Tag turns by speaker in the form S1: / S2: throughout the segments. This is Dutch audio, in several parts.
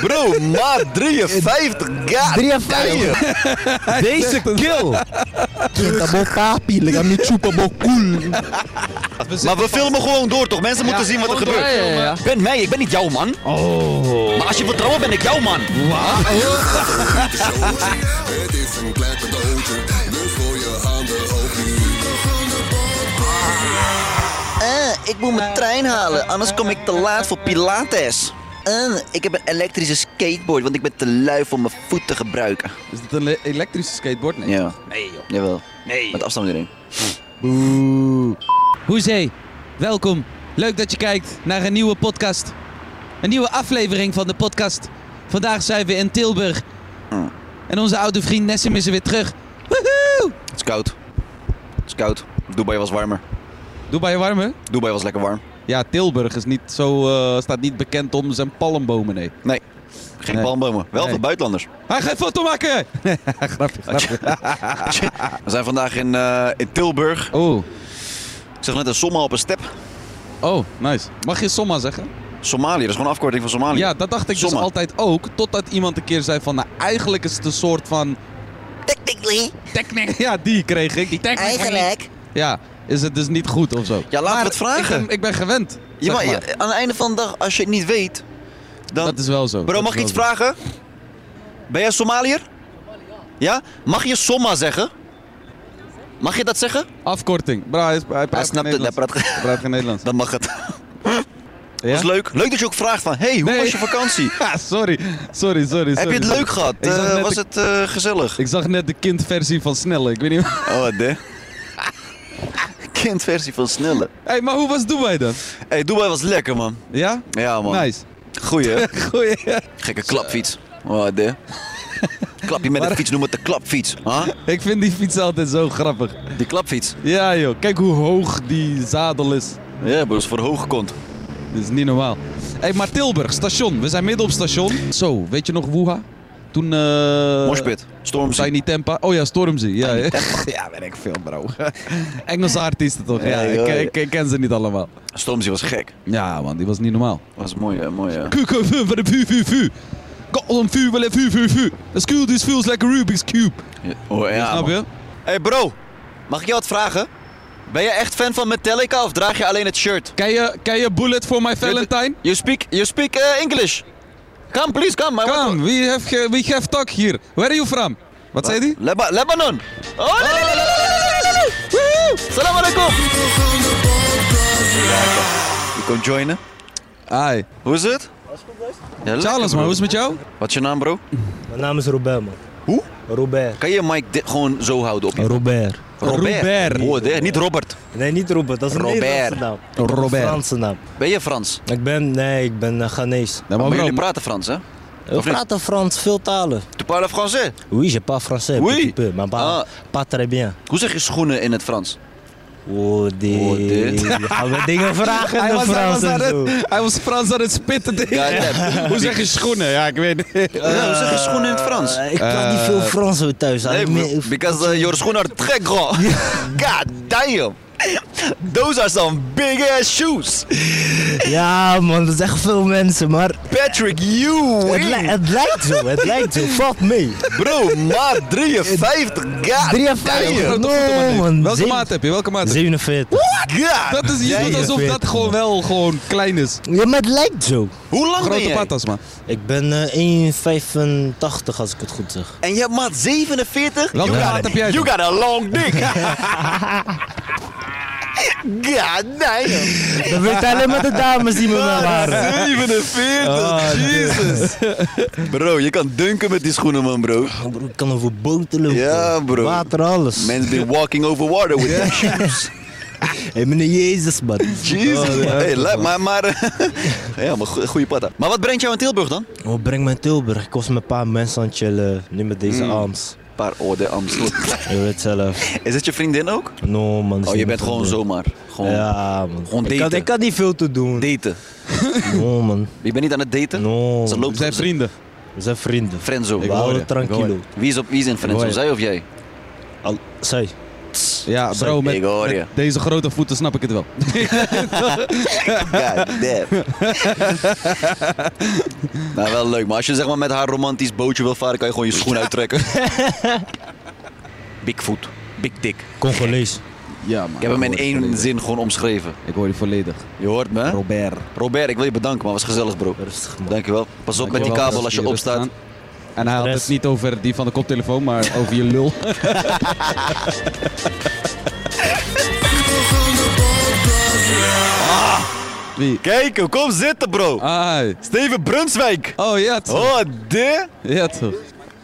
S1: Bro, maat 53. God
S2: 53. Deze kill. Quinta bocapi, lega mi chupa bocul.
S1: Maar we filmen gewoon door toch? Mensen moeten zien wat er gebeurt.
S2: ja, ja, ja.
S1: Ik ben mij, ik ben niet jouw man. Oh. Maar als je vertrouwt, ben ik jouw man.
S3: Het is een klein cadeautje, dus voor je handen ook niet.
S4: Eh, ik moet mijn trein halen, anders kom ik te laat voor Pilates. Eh, ik heb een elektrische skateboard, want ik ben te lui om mijn voet te gebruiken.
S5: Is dit een le- elektrische skateboard? Nee.
S4: Ja,
S1: Nee joh.
S4: jawel.
S1: Nee.
S4: Met afstandsbediening.
S2: Hoezee, welkom. Leuk dat je kijkt naar een nieuwe podcast. Een nieuwe aflevering van de podcast. Vandaag zijn we in Tilburg. En onze oude vriend Nessim is er weer terug. Woehoe!
S1: Het is koud. Het is koud. Dubai was warmer.
S5: Doe bij je warme.
S1: Dubai was lekker warm.
S5: Ja, Tilburg is niet zo, eh, staat niet bekend om zijn palmbomen, nee.
S1: Nee. Geen
S5: Nee.
S1: palmbomen. Wel
S5: Nee.
S1: veel buitenlanders.
S5: Hij gaat foto maken! grapje, grapje.
S1: We zijn vandaag in, eh, in Tilburg.
S5: Oh,
S1: Ik zeg net een somma op een step.
S5: oh, nice. Mag je Somma zeggen?
S1: Somalië, dat is gewoon een afkorting van Somalië.
S5: Ja, dat dacht ik dus
S1: Somma.
S5: altijd ook. Totdat iemand een keer zei van, nou eigenlijk is het een soort van...
S4: Technically,
S5: Technic. Ja, die kreeg ik. Die technic.
S4: eigenlijk.
S5: Ja, is het dus niet goed of zo.
S1: Ja, laten we
S5: Maar
S1: het vragen.
S5: Ik ben, ik ben gewend.
S1: Je
S5: zeg
S1: mag-
S5: maar.
S1: ja,
S4: Aan het einde van de dag, als je het niet weet,
S1: dan-
S5: Dat is wel zo.
S1: Bro,
S5: Dat
S1: mag
S5: is
S1: ik iets
S5: wel zo.
S1: vragen? Ben jij Somaliër? Ja? Mag je somma zeggen? Mag je dat zeggen?
S5: Afkorting. Bro, hij, is- hij praat
S1: snapt
S5: geen
S1: het, hij praat
S5: Nederlands.
S1: ge-
S5: Hij praat geen Nederlands.
S1: Dan mag het.
S5: Ja?
S1: Dat is leuk. Leuk dat je ook vraagt van, hey, hoe
S5: Nee.
S1: was je vakantie?
S5: Ja, sorry. Sorry, sorry, sorry.
S1: Heb je het
S5: sorry.
S1: leuk gehad?
S5: Ik zag
S1: Eh,
S5: net
S1: was
S5: de-
S1: het eh, gezellig?
S5: Ik zag net de kindversie van Snelle. Ik weet niet. Hé,
S1: Oh, wat de. Kindversie van Snelle.
S5: hey, maar hoe was Dubai dan?
S1: hey, Dubai was lekker, man.
S5: Ja?
S1: Ja, man.
S5: Nice.
S1: Goeie, hè?
S5: Goeie.
S1: Gekke klapfiets. Oh, wat de. Klap je met een fiets, noem het de klapfiets. Huh?
S5: Ik vind die fiets altijd zo grappig.
S1: Die klapfiets.
S5: Ja, joh. Kijk hoe hoog die zadel is.
S1: Ja, bro, is voor hoge kont.
S5: Eh, Dit is niet normaal. Hé, hey, maar Tilburg, station. We zijn midden op station. Zo, weet je nog Woeha? Toen... eh
S1: Moshpit. Stormzy.
S5: Tiny Tempa. Oh ja, Stormzy. Ja, ja.
S1: Ja, ben ik veel, bro.
S5: Engelse artiesten toch? Ja,
S1: Ja, joh,
S5: ik-
S1: joh.
S5: ik, ik ken ze niet allemaal.
S1: Stormzy was gek.
S5: Ja, man, die was niet normaal.
S1: Was mooi, hè? Mooi, eh, hè?
S5: Kukenvuur van de vuur, vuur, vuur. Gotham vuur, wel vuur, vuur, vuur. The school this feels like a Rubik's Cube.
S1: Oh, ja,
S5: Snap
S1: man.
S5: je?
S1: Hey bro, mag ik jou wat vragen? Ben je echt fan van Metallica of draag je alleen het shirt?
S5: Ken je, ken je Bullet for my Valentine?
S1: You speak, you speak eh, English. Come please, come. I want
S5: Come, we have, ge- we have talk here. Where are you from? Wat zei die?
S1: to- Leba- Lebanon. Oh, la, la, la, la, la, la, la, la. Woehoe. Salam alaikum. Je komt joinen.
S5: Hi.
S1: Hoe is het? Ja, lekker,
S5: Charles,
S1: bro.
S5: man, hoe is het met jou?
S1: Wat is je naam bro?
S6: Mijn naam is Robert, man.
S1: Hoe?
S6: Robert.
S1: Kan je je mic di- gewoon zo houden op je?
S6: Robert.
S5: Robert.
S1: Oh, de- niet Robert.
S6: Nee, niet Robert, dat is een
S1: Robert.
S6: Nederlandse naam. Dat is een
S5: Robert.
S6: Franse naam.
S1: Ben je Frans? Nou,
S6: Ik ben, nee, ik ben eh, Ghanese.
S5: Ja,
S1: Maar,
S5: bro,
S1: jullie praten Frans hè?
S6: We
S1: niet?
S6: praten Frans, veel talen.
S1: Tu parles français?
S6: Oui, je parle français,
S1: Oui.
S6: petit peu, maar pas,
S1: Ah.
S6: pas très bien.
S1: Hoe zeg je schoenen in het Frans?
S6: Oh, die.
S1: Oh, dit.
S6: Gaan we dingen vragen in
S5: hij,
S6: de
S5: was, hij,
S6: Frans
S5: was aan
S6: en zo.
S5: het, hij was Frans aan het spitten.
S1: damn.
S5: Hoe zeg je schoenen? Ja, ik weet niet.
S1: Ja, hoe zeg je schoenen in het Frans?
S6: Eh, ik praat niet veel Frans hoor, thuis.
S1: Nee,
S6: Alleen
S1: bro,
S6: meer-
S1: because uh, your schoenen are gek, bro. God damn. Those are some big ass shoes.
S6: Ja, man, dat is echt veel mensen, maar
S1: Patrick Ewing.
S6: het, li- het lijkt zo, het lijkt zo. Valt mee.
S1: Bro, maat 53. God
S6: 53.
S1: damn.
S6: No, man.
S5: Welke
S6: Zeven-
S5: maat heb je? Welke maat heb je?
S6: 47.
S1: God.
S5: Dat is, je doet alsof dat
S6: 49,
S5: gewoon
S6: man.
S5: wel gewoon klein is.
S6: Ja, maar het lijkt zo.
S1: Hoe lang ben
S5: Grote
S1: jij?
S5: patas, man.
S6: Ik ben eh, 1,85 als ik het goed zeg.
S1: En je hebt maat 47?
S5: Welke
S1: You
S5: maat
S1: got a-
S5: heb jij dan?
S1: You got a long dick. God damn.
S6: Dat weten alleen maar de dames die me wel waren.
S1: 47,
S6: Ah,
S1: Jesus. Bro, je kan dunken met die schoenen, man, bro.
S6: Bro, Ik kan over boten lopen.
S1: Ja, bro.
S6: Water, alles.
S1: Man's been walking over water with that shoes.
S6: Hey, meneer Jezus, man.
S1: Jesus.
S6: Oh, ja.
S1: hey, laat maar, maar... eh, ja, maar goe- goeie patta. Maar wat brengt jou in Tilburg dan?
S6: Oh, breng me in Tilburg. Ik was met een paar mensen aan het chillen. Nu met deze
S1: Mm.
S6: arms.
S1: Een paar orde Amstel.
S6: Je weet zelf.
S1: Is het je vriendin ook?
S6: No, man. dat is
S1: Oh, je
S6: niet
S1: bent
S6: mijn
S1: gewoon
S6: ding.
S1: zomaar. Gewoon
S6: Ja, man.
S1: Gewoon
S6: ik, had,
S1: daten.
S6: ik had niet veel te doen.
S1: daten.
S6: No, man.
S1: Je bent niet aan het daten?
S6: No.
S1: Ze
S6: man.
S1: loopt
S5: We zijn vrienden.
S6: We zijn vrienden.
S1: Friendzone.
S6: We
S5: hoor
S6: houden
S5: je. Ik
S6: tranquilo.
S5: hoor
S1: Wie is, op, wie is in friendzone?
S6: Mooi.
S1: Zij of jij?
S6: Zij.
S5: Ja, bro, met,
S1: Ik hoor je.
S5: met deze grote voeten snap ik het wel.
S1: God damn. nou, wel leuk. Maar als je zeg maar, met haar romantisch bootje wil varen, kan je gewoon je schoen uittrekken. Bigfoot. Big dick.
S6: Congolees.
S5: Ja, man.
S1: Oh, Ik heb hem in één zin gewoon omschreven.
S5: Ik hoor je volledig.
S1: Je hoort me, hè?
S5: Robert.
S1: Robert, ik wil je bedanken, man. Was gezellig, bro.
S6: Rustig, man.
S1: Dankjewel. Pas op met die
S5: Dankjewel
S1: kabel
S5: dat
S1: als je
S5: hier
S1: opstaat.
S5: rustig aan. En hij had het
S6: Rest.
S5: niet over die van de koptelefoon, maar over je lul. Wie?
S1: Kijk, hem, kom zitten, bro.
S5: Ah,
S1: Steven Brunswijk.
S5: oh ja toch.
S1: Oh, de
S5: Ja toch.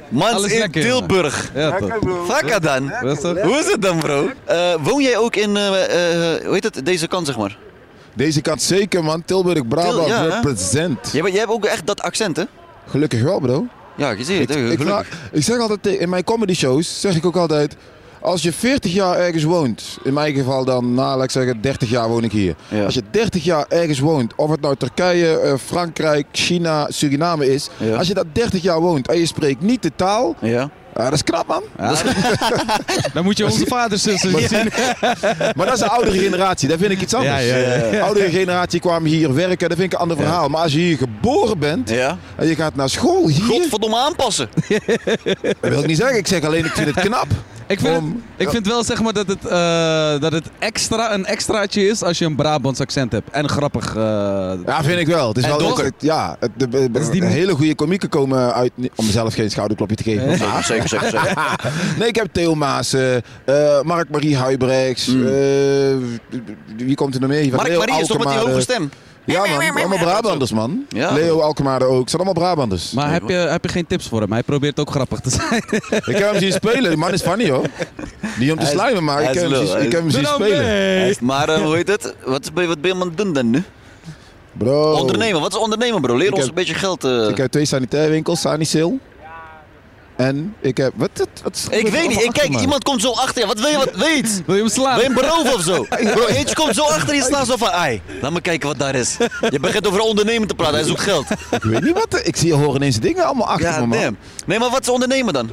S1: man
S5: Alles
S1: in
S5: lekker,
S1: Tilburg.
S5: Ja toch.
S1: Fakka dan.
S5: Rustig.
S1: Hoe is het dan, bro? Eh, woon jij ook in, eh, eh, hoe heet het, deze kant, zeg maar?
S7: Deze kant zeker, man. Tilburg, Brabant,
S1: Til- ja, hè?
S7: represent.
S1: Jij, bent- jij hebt ook echt dat accent, hè?
S7: Gelukkig wel, bro.
S1: Ja, je ziet het. hè,
S7: ik,
S1: gelukkig.
S7: vraag- ik zeg altijd te- in mijn comedy shows, zeg ik ook altijd, als je 40 jaar ergens woont, in mijn geval dan, nou, laat ik zeggen, 30 jaar woon ik hier.
S1: Ja.
S7: Als je 30 jaar ergens woont, of het nou Turkije, eh, Frankrijk, China, Suriname is,
S1: Ja.
S7: als je dat 30 jaar woont en je spreekt niet de taal,
S1: Ja.
S7: ah, dat is knap man.
S5: Dan moet je onze vaders zussen zien.
S7: Maar dat is de oudere generatie, daar vind ik iets anders.
S5: Ja, ja, ja.
S7: De oudere generatie kwam hier werken, dat vind ik een ander verhaal. Maar als je hier geboren bent
S1: Ja.
S7: en je gaat naar school hier,
S1: Godverdomme aanpassen.
S7: dat wil ik niet zeggen, ik zeg alleen ik vind het knap.
S5: Ik vind,
S7: Om-
S5: het- ik vind wel zeg maar dat het, eh, dat het extra, een extraatje is als je een Brabants accent hebt. En grappig. eh,
S7: Ja, vind ik wel. Het is
S5: En
S7: wel
S5: donker.
S7: het- ja, het, de, de-
S5: is die-
S7: een hele goede komieken komen uit. Om mezelf geen schouderklopje te geven. maar-
S1: Zeker, zeker, zeker. zeker.
S7: nee, ik heb Theo Maassen, eh, Mark-Marie Huibrechts. eh, wie komt er nog meer? Van
S1: Mark
S7: Leo
S1: Marie Hmm. is toch met die
S7: Alkemade.
S1: hoge stem?
S7: Ja, man. Allemaal Brabanders, man.
S1: Ja.
S7: Leo Alkemade ook. Het zijn allemaal Brabanders.
S5: Maar heb je, heb je geen tips voor hem? Hij probeert ook grappig te zijn.
S7: Ik heb hem zien spelen. Die man is funny, hoor. Niet om te
S1: Hij is-
S7: slijmen, maar
S1: hij
S7: ik
S1: is
S7: heb hem
S1: lul,
S7: zien-
S1: hij
S7: ik heb hem
S5: Doe
S7: zien
S5: nou
S7: spelen.
S5: mee.
S1: Maar eh, hoe heet het? Wat, ben je- wat ben je aan het doen dan nu?
S7: Bro.
S1: Ondernemen. Wat is ondernemen, bro? Leer ons
S7: Oh. heb-
S1: een beetje geld. eh.
S7: Ik heb twee sanitairwinkels, Sanisil. En ik heb... Wat, wat, wat-
S1: Ik
S7: wat-
S1: weet niet. Ik kijk,
S7: man.
S1: iemand komt zo achter je. Wat wil je wat weet?
S5: Wil je
S1: Wil
S5: hem slaan?
S1: je hem beroven of zo? Bro, eentje komt zo achter je staan zo van... Ai, laat me kijken wat daar is. Je begint over ondernemen te praten. Hij zoekt geld.
S7: Ik weet niet wat. Ik zie hoor ineens dingen allemaal achter
S1: Ja,
S7: me, man.
S1: damn. Nee, maar wat is ondernemen dan?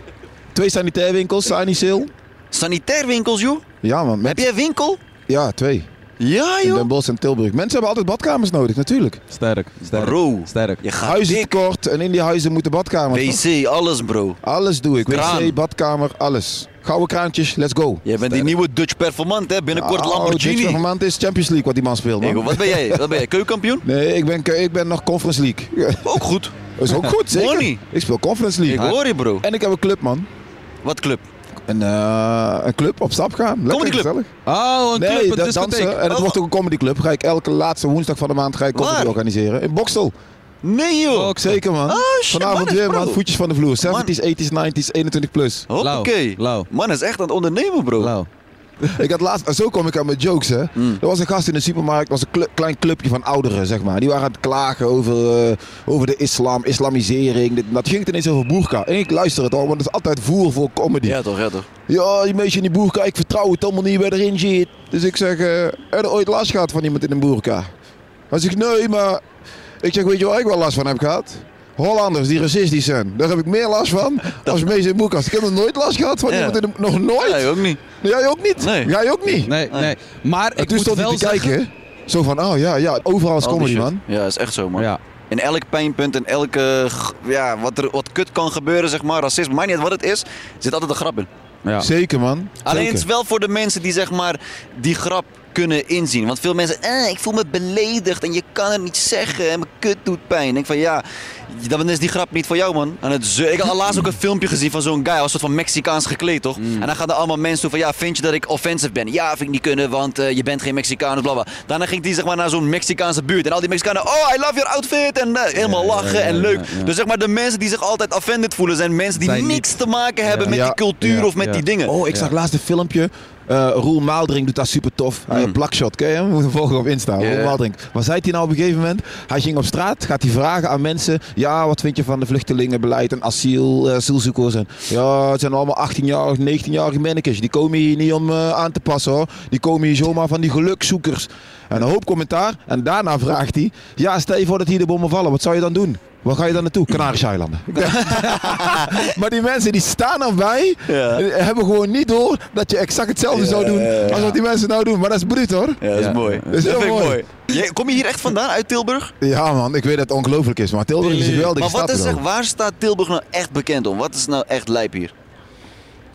S7: Twee sanitairwinkels, Sanisil.
S1: Sanitair winkels, joh?
S7: Ja, man. Met-
S1: Heb jij een winkel?
S7: Ja, twee.
S1: Ja,
S7: In
S1: joh.
S7: Den Bosch en Tilburg. Mensen hebben altijd badkamers nodig, natuurlijk.
S5: Sterk, sterk.
S1: Bro,
S5: Sterk.
S1: je gaat
S7: Huizen
S1: Ah, dik.
S7: tekort en in die huizen moeten badkamers.
S1: WC, alles bro.
S7: Alles doe ik.
S1: Kraan.
S7: WC, badkamer, alles. Gouden kraantjes, let's go.
S1: Jij bent die nieuwe Dutch performant, hè? Binnenkort
S7: Oh, dit
S1: Lamborghini.
S7: van maand is Champions League wat die man speelt, man.
S1: Ego, wat ben jij? Wat ben jij? Keukenkampioen?
S7: Nee, ik ben, ik ben nog Conference League.
S1: Ook goed.
S7: Dat is ook goed, zeker.
S1: Money.
S7: Ik speel Conference
S1: Ik
S7: League.
S1: hoor je, bro.
S7: En ik heb een club, man.
S1: Wat club?
S7: Een, eh, een club op stap gaan. Lekker
S1: Comedyclub.
S7: gezellig.
S5: Oh, een
S7: Nee,
S5: club, een
S7: dat
S5: discotheek.
S7: dansen. En het
S1: Oh.
S7: wordt ook een comedyclub. Ga ik elke laatste woensdag van de maand ga ik comedy
S1: Waar?
S7: organiseren. In Boksel.
S1: Nee, joh.
S7: Ook zeker, man.
S1: Oh, shit,
S7: Vanavond
S1: man,
S7: weer,
S1: bro.
S7: man. Voetjes van de vloer.
S1: Man.
S7: 70s, 80s, 90s, 21 plus.
S1: Hoppakee.
S5: Lauw, lauw.
S1: Man is echt aan het ondernemen, bro.
S5: Lauw.
S7: Ik had laatst, zo kom ik aan mijn jokes, hè.
S1: Hmm.
S7: Er was een gast in de supermarkt, was een kle- klein clubje van ouderen, zeg maar. Die waren aan het klagen over, eh, over de islam, islamisering. Dit, en dat ging het ineens over boerka. En ik luister het al, want het is altijd voer voor comedy.
S1: Ja, toch, ja, toch.
S7: Ja, die meisje in die boerka, ik vertrouw het allemaal niet waar erin zit. Dus ik zeg, eh, heb je ooit last gehad van iemand in een boerka? Hij zegt, nee, maar... Ik zeg, weet je waar ik wel last van heb gehad? Hollanders die racistisch zijn. Daar heb ik meer last van als mensen in Boekast. Ik heb nog nooit last gehad van
S1: Ja.
S7: iemand in de... Nog nooit?
S1: Nee, ook niet.
S7: Jij ook niet?
S1: Nee.
S7: Jij ook niet?
S5: Nee, nee. Maar
S7: En
S5: ik
S7: toen
S5: moet
S7: stond hij
S5: wel
S7: te
S5: zeggen...
S7: kijken. Zo van, oh ja, ja, overal is
S1: Al die
S7: comedy,
S1: shit.
S7: man.
S1: Ja, is echt zo, man.
S5: Ja.
S1: In elk pijnpunt, in elke... g- Ja, wat, er, wat kut kan gebeuren, zeg maar. Racisme, maakt niet uit wat het is. zit altijd een grap in.
S5: Ja.
S7: Zeker, man.
S1: Alleen het
S7: Zeker.
S1: is wel voor de mensen die zeg maar die grap kunnen inzien. Want veel mensen, eh, ik voel me beledigd en je kan het niet zeggen en mijn kut doet pijn. Ik denk van ja, dan is die grap niet voor jou man. En het zeu- ik had laatst ook een filmpje gezien van zo'n guy, hij was een soort van Mexicaans gekleed toch?
S5: Mm.
S1: En dan gaan er allemaal mensen toe van ja, vind je dat ik offensive ben? Ja, vind ik niet kunnen, want eh, je bent geen Mexicaan, bla bla. Daarna ging die zeg maar naar zo'n Mexicaanse buurt en al die Mexicanen, oh, I love your outfit en eh, helemaal lachen en leuk. Dus zeg maar de mensen die zich altijd offended voelen zijn mensen die
S5: Zijn niet-
S1: niks te maken hebben met
S7: Ja.
S1: die cultuur
S5: Ja.
S1: of met
S5: Ja.
S1: die dingen.
S7: Oh, ik zag laatst een filmpje. Eh Roel Maaldring doet dat super tof. Hij een plakshot, ken je hem? Moet hem volgen op Insta.
S1: Hmm. Ja.
S7: Roel Maaldring. Wat zei hij nou op een gegeven moment? Hij ging op straat, gaat hij vragen aan mensen. Ja, wat vind je van de vluchtelingenbeleid en asiel, eh, asielzoekers? En, ja, het zijn allemaal 18-jarige, 19-jarige mannetjes. Die komen hier niet om eh, aan te passen hoor. Die komen hier zomaar van die gelukzoekers. En een hoop commentaar. En daarna vraagt hij. Ja, stel je voor dat hier de bommen vallen. Wat zou je dan doen? Waar ga je dan naartoe? Canarische eilanden. Maar die mensen die staan erbij,
S1: Ja.
S7: eh, hebben gewoon niet door dat je exact hetzelfde zou doen als wat die mensen nou doen. Maar dat is bruut hoor.
S1: Ja, dat is
S5: Ja.
S1: mooi.
S7: Dat is heel
S1: vind ik
S7: mooi.
S1: Jij- kom je hier echt vandaan, uit Tilburg?
S7: Ja man, ik weet dat het ongelooflijk is, maar Tilburg is een geweldige
S1: maar wat
S7: stad.
S1: is echt,
S7: bro.
S1: waar staat Tilburg nou echt bekend om? Wat is nou echt lijp hier?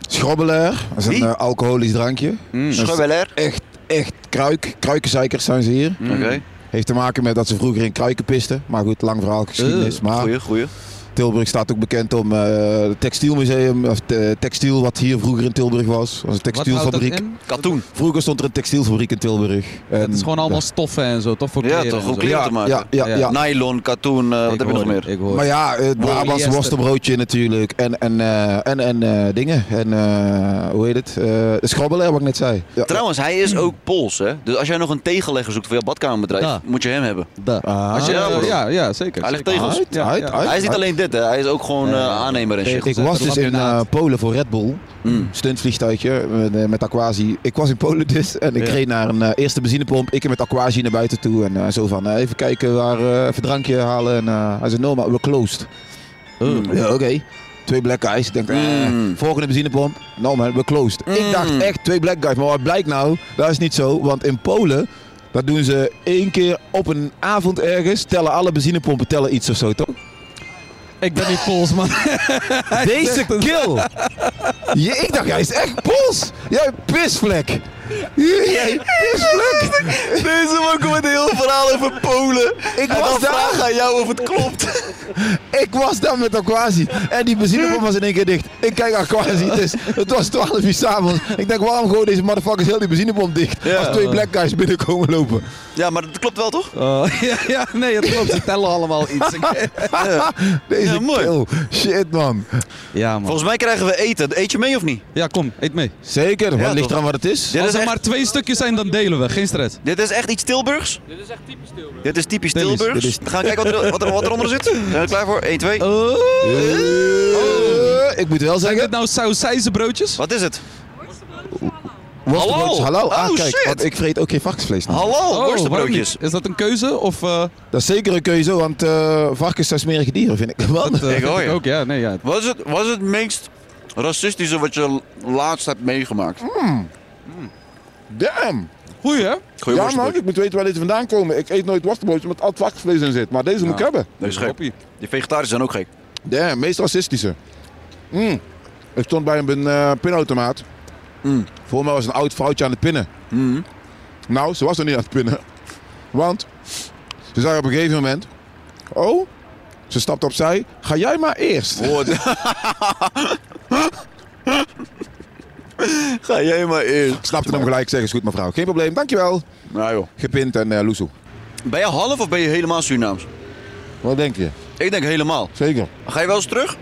S7: Schrobbeler, dat is een
S1: Wie?
S7: eh, alcoholisch drankje.
S1: Schubbeler?
S7: Echt, echt kruik. Kruikenzeikers zijn ze hier.
S1: Oké,
S7: Heeft te maken met dat ze vroeger in kruiken pisten. Maar goed, lang verhaal
S1: Eh,
S7: geschiedenis. maar
S1: goeie, goeie.
S7: Tilburg staat ook bekend om eh, het textielmuseum, of eh, textiel wat hier vroeger in Tilburg was. was een
S5: Wat houdt dat
S7: textielfabriek.
S5: in?
S1: Katoen.
S7: Vroeger stond er een textielfabriek in Tilburg.
S5: Het is gewoon allemaal stoffen en zo, toch? Voor
S1: Ja,
S5: kleren
S1: toch,
S5: en
S1: ook
S5: zo.
S1: kleren te maken.
S7: ja, ja, ja,
S5: Ja.
S1: Nylon, katoen, eh, wat
S5: Ik
S1: heb je nog
S5: hoor-
S1: meer?
S5: Ik hoor.
S7: Maar ja, eh, het Brabants
S5: Polyester.
S7: worstenbroodje natuurlijk. En, en, eh, en, en eh, dingen. En eh, hoe heet het? Eh de schrabbelair, wat ik net zei. Ja.
S1: Trouwens, hij is ook Pools, hè? Dus als jij nog een tegenlegger zoekt voor jouw badkamerbedrijf,
S5: Ja.
S1: moet je hem hebben.
S5: Da.
S7: Ah,
S1: Als je-
S5: Ja,
S1: bro.
S5: ja, ja, zeker.
S1: Hij legt
S5: zeker.
S1: tegels.
S5: Ja,
S7: Uit, uit,
S5: ja.
S7: uit.
S1: Hij is niet alleen dit, hè? Hij is ook gewoon eh, aannemer en shit.
S7: ik was dus in eh,
S5: laminaat.
S7: Polen voor Red Bull.
S1: Mm.
S7: Stuntvliegtuigje met, eh, met Aquasi. Ik was in Polen dus en ik reed naar een eh, eerste benzinepomp. Ik en met Aquasi naar buiten toe. En eh, zo van, eh, even kijken waar, eh even drankje halen. En, eh, hij zei, no, maar we're closed. Hmm. Ja, oké. Twee black guys. Ik denk, eh,
S1: Mm.
S7: volgende benzinepomp. Nou man, we're closed. Ik dacht echt twee black guys. Maar wat blijkt nou? Dat is niet zo. Want in Polen, dat doen ze één keer op een avond ergens. Tellen alle benzinepompen tellen iets of zo, toch?
S5: Ik ben niet Pools, man.
S7: Deze kill! Je, ik dacht, hij is echt Pools! Jij pisvlek! Jij pisvlek!
S1: Deze man komt met een heel verhaal over Polen.
S7: Ik was daar.
S1: aan jou of het klopt.
S7: Ik was daar met Aquasi en die benzinepomp was in één keer dicht. Ik kijk Aquasi, het, is, het was 12 uur s'avonds. Ik denk, waarom gooien deze motherfuckers heel die benzinepomp dicht?
S1: Ja.
S7: Als twee black guys binnenkomen lopen.
S1: Ja, maar dat klopt wel, toch?
S5: Oh, ja, ja, nee, dat klopt. Ze tellen allemaal iets.
S7: Deze
S1: Ja, mooi.
S7: kill. Shit, man.
S5: Ja, man.
S1: Volgens mij krijgen we eten. Eet je mee of niet?
S5: Ja, kom, eet mee.
S7: Zeker,
S1: Ja,
S7: wat ligt
S1: toch.
S7: eraan wat het is.
S1: Dit
S5: Als
S1: is,
S5: er
S1: echt,
S5: maar twee stukjes zijn, dan delen we. Geen stress.
S1: dit is echt iets Tilburgs? Dit is echt typisch
S5: Dit is- Oh.
S1: Tilburgs. Dit is typisch Tilburgs.
S5: dit
S1: We gaan kijken wat, er, wat, er, wat eronder zit. Zijn we klaar voor? 1, 2.
S7: Eh, ik moet wel
S5: Zijn
S7: zeggen,
S5: dit nou sausijzen broodjes?
S1: Wat is het? Hallo?
S7: worstenbroodjes, hallo. Ah,
S1: Oh,
S7: kijk,
S1: shit.
S7: want ik vreet ook geen varkensvlees. nu.
S1: Hallo,
S5: Oh, waarom
S1: worstenbroodjes.
S5: niet? Is dat een keuze? Of, eh,
S7: Dat is zeker een keuze, want eh, varkens zijn smerige dieren, vind ik. Man.
S5: eh,
S1: Ik hoor
S5: vind
S1: je.
S5: Ook, ja, nee, ja.
S1: Wat is het, wat is het meest racistische wat je laatst hebt meegemaakt?
S7: Damn.
S5: Goeie, hè?
S1: Goeie
S7: ja, man, ik moet weten waar deze vandaan komen. Ik eet nooit worstenbroodjes met al het varkensvlees in zit, maar deze moet ik hebben.
S1: Dat is gek.
S5: Hoppie.
S1: Die vegetariërs zijn ook gek.
S7: Damn, meest racistische. Mm. Ik stond bij een eh, pinautomaat.
S1: Mm.
S7: Voor mij was een oud vrouwtje aan het pinnen.
S1: Mhm.
S7: Nou, ze was er niet aan het pinnen. Want ze zei op een gegeven moment... Oh, ze stapt opzij. Ga jij maar eerst.
S1: Ga jij maar
S7: Ik
S1: eerst.
S7: snapte hem gelijk. Ik Zeg, is goed mevrouw. Geen probleem, dankjewel.
S1: Nou joh.
S7: Gepind en eh loesoe.
S1: Ben je half of ben je helemaal Surinaams?
S7: Wat denk je?
S1: Ik denk helemaal.
S7: Zeker.
S1: Ga je wel eens terug?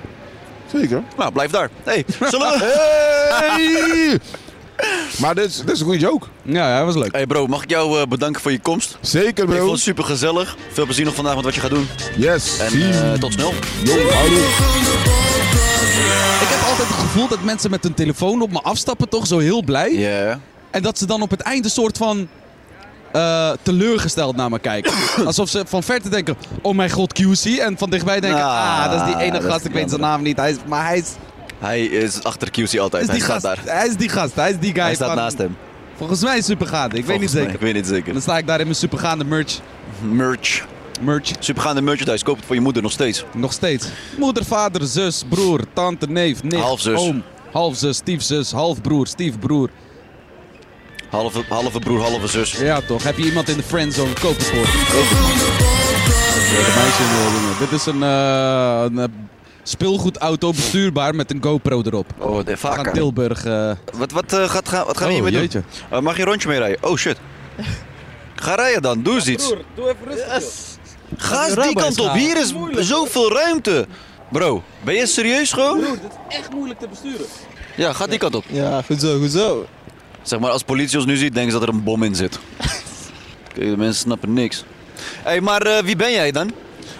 S7: Zeker.
S1: Nou, blijf daar. Hey, zullen we...
S7: Hey! maar dit is, dit is een goede joke.
S5: Ja, ja, was leuk.
S1: Hey bro, mag ik jou eh, bedanken voor je komst?
S7: Zeker,
S1: Ik vond
S7: bro.
S1: het super gezellig. Veel plezier nog vandaag met wat je gaat doen.
S7: Yes.
S1: En
S7: Zie.
S1: eh, tot snel.
S7: Yo, houdoe.
S5: Ik heb altijd het gevoel dat mensen met hun telefoon op me afstappen, toch? Zo heel blij.
S1: Ja.
S5: En dat ze dan op het eind een soort van eh, teleurgesteld naar me kijken. Alsof ze van verte denken, oh mijn god, QC. En van dichtbij denken, ah,
S1: Ah,
S5: dat is die ene
S1: dat is
S5: gast,
S1: die
S5: ik weet zijn
S1: andere.
S5: naam niet. Hij is, maar hij is,
S1: Hij is achter QC altijd.
S5: is
S1: hij
S5: die
S1: staat
S5: gast.
S1: daar.
S5: Hij is die gast, hij is die guy.
S1: Hij staat
S5: van-
S1: naast hem.
S5: Volgens mij is supergaande, ik weet
S1: Volgens
S5: niet
S1: mij.
S5: zeker.
S1: Ik weet niet
S5: En
S1: zeker.
S5: dan sta ik daar in mijn supergaande merch.
S1: Merch.
S5: Merch,
S1: Supergaande merchandise. Koop het voor je moeder nog steeds.
S5: nog steeds. Moeder, vader, zus, broer, tante, neef, nicht,
S1: Halfzus.
S5: oom. Halfzus, stiefzus, halfbroer, stiefbroer.
S1: Halve, halve broer, halve zus.
S5: Ja toch, heb je iemand in de friendzone, koop het voor. meisje wil dingen. Dit is een, eh, een eh, speelgoedauto bestuurbaar met een GoPro erop.
S1: Oh, de
S5: We gaan
S1: vaker.
S5: Tilburg. eh,
S1: Wat, wat, eh, gaat, gaan- wat gaan we
S5: Oh,
S1: hiermee doen?
S5: jeetje.
S1: Eh, mag je een rondje mee rijden? Oh shit. Ga rijden dan, doe eens iets.
S8: doe even rustig.
S1: Ga eens die
S8: Rabbi
S1: kant op,
S8: slaan.
S1: hier is zoveel ruimte. Bro, ben je serieus gewoon?
S8: Echt moeilijk te besturen.
S1: Ja, ga die kant op.
S2: Ja, goed zo, goed zo.
S1: Zeg maar, als politie ons nu ziet, denken ze dat er een bom in zit. Kijk, de mensen snappen niks. Hé, hey, maar eh, wie ben jij dan?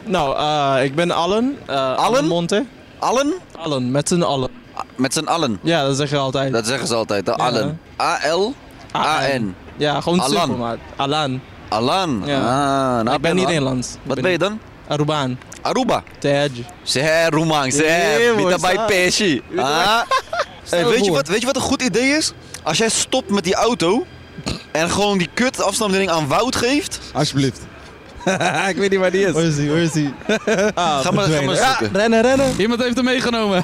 S2: Nou, eh, ik ben Allen. eh
S1: Allen?
S2: Monte.
S1: Allen?
S2: Allen, met z'n allen.
S1: Met z'n allen.
S2: Ja, dat zeg je altijd.
S1: Dat zeggen ze altijd, de allen. A-L, A-N.
S2: Ja, gewoon
S1: Allan.
S2: simpel, maar. Alan.
S1: Alan.
S2: Ja.
S1: Ah, nou,
S2: ik ben niet
S1: wel-
S2: Nederlands. Ik
S1: Wat ben je dan?
S2: Arubaan.
S1: Aruba.
S2: Tej.
S1: Zeg, Roemang, zeg.
S2: Yeah,
S1: Wie
S2: mooi
S1: daarbij
S2: staan.
S1: Persie. Ah. Hey,
S2: Stel
S1: weet, je
S2: voor.
S1: wat, weet je wat een goed idee is? Als jij stopt met die auto en gewoon die kut afstandsbediening aan Wout geeft,
S5: Alsjeblieft. ik weet niet waar die
S2: Waar
S5: is.
S2: is hij, waar is hij?
S1: ga
S2: Ah,
S1: maar, ga maar
S2: verdwenen.
S1: zoeken.
S2: Rennen, rennen.
S5: Iemand heeft hem meegenomen.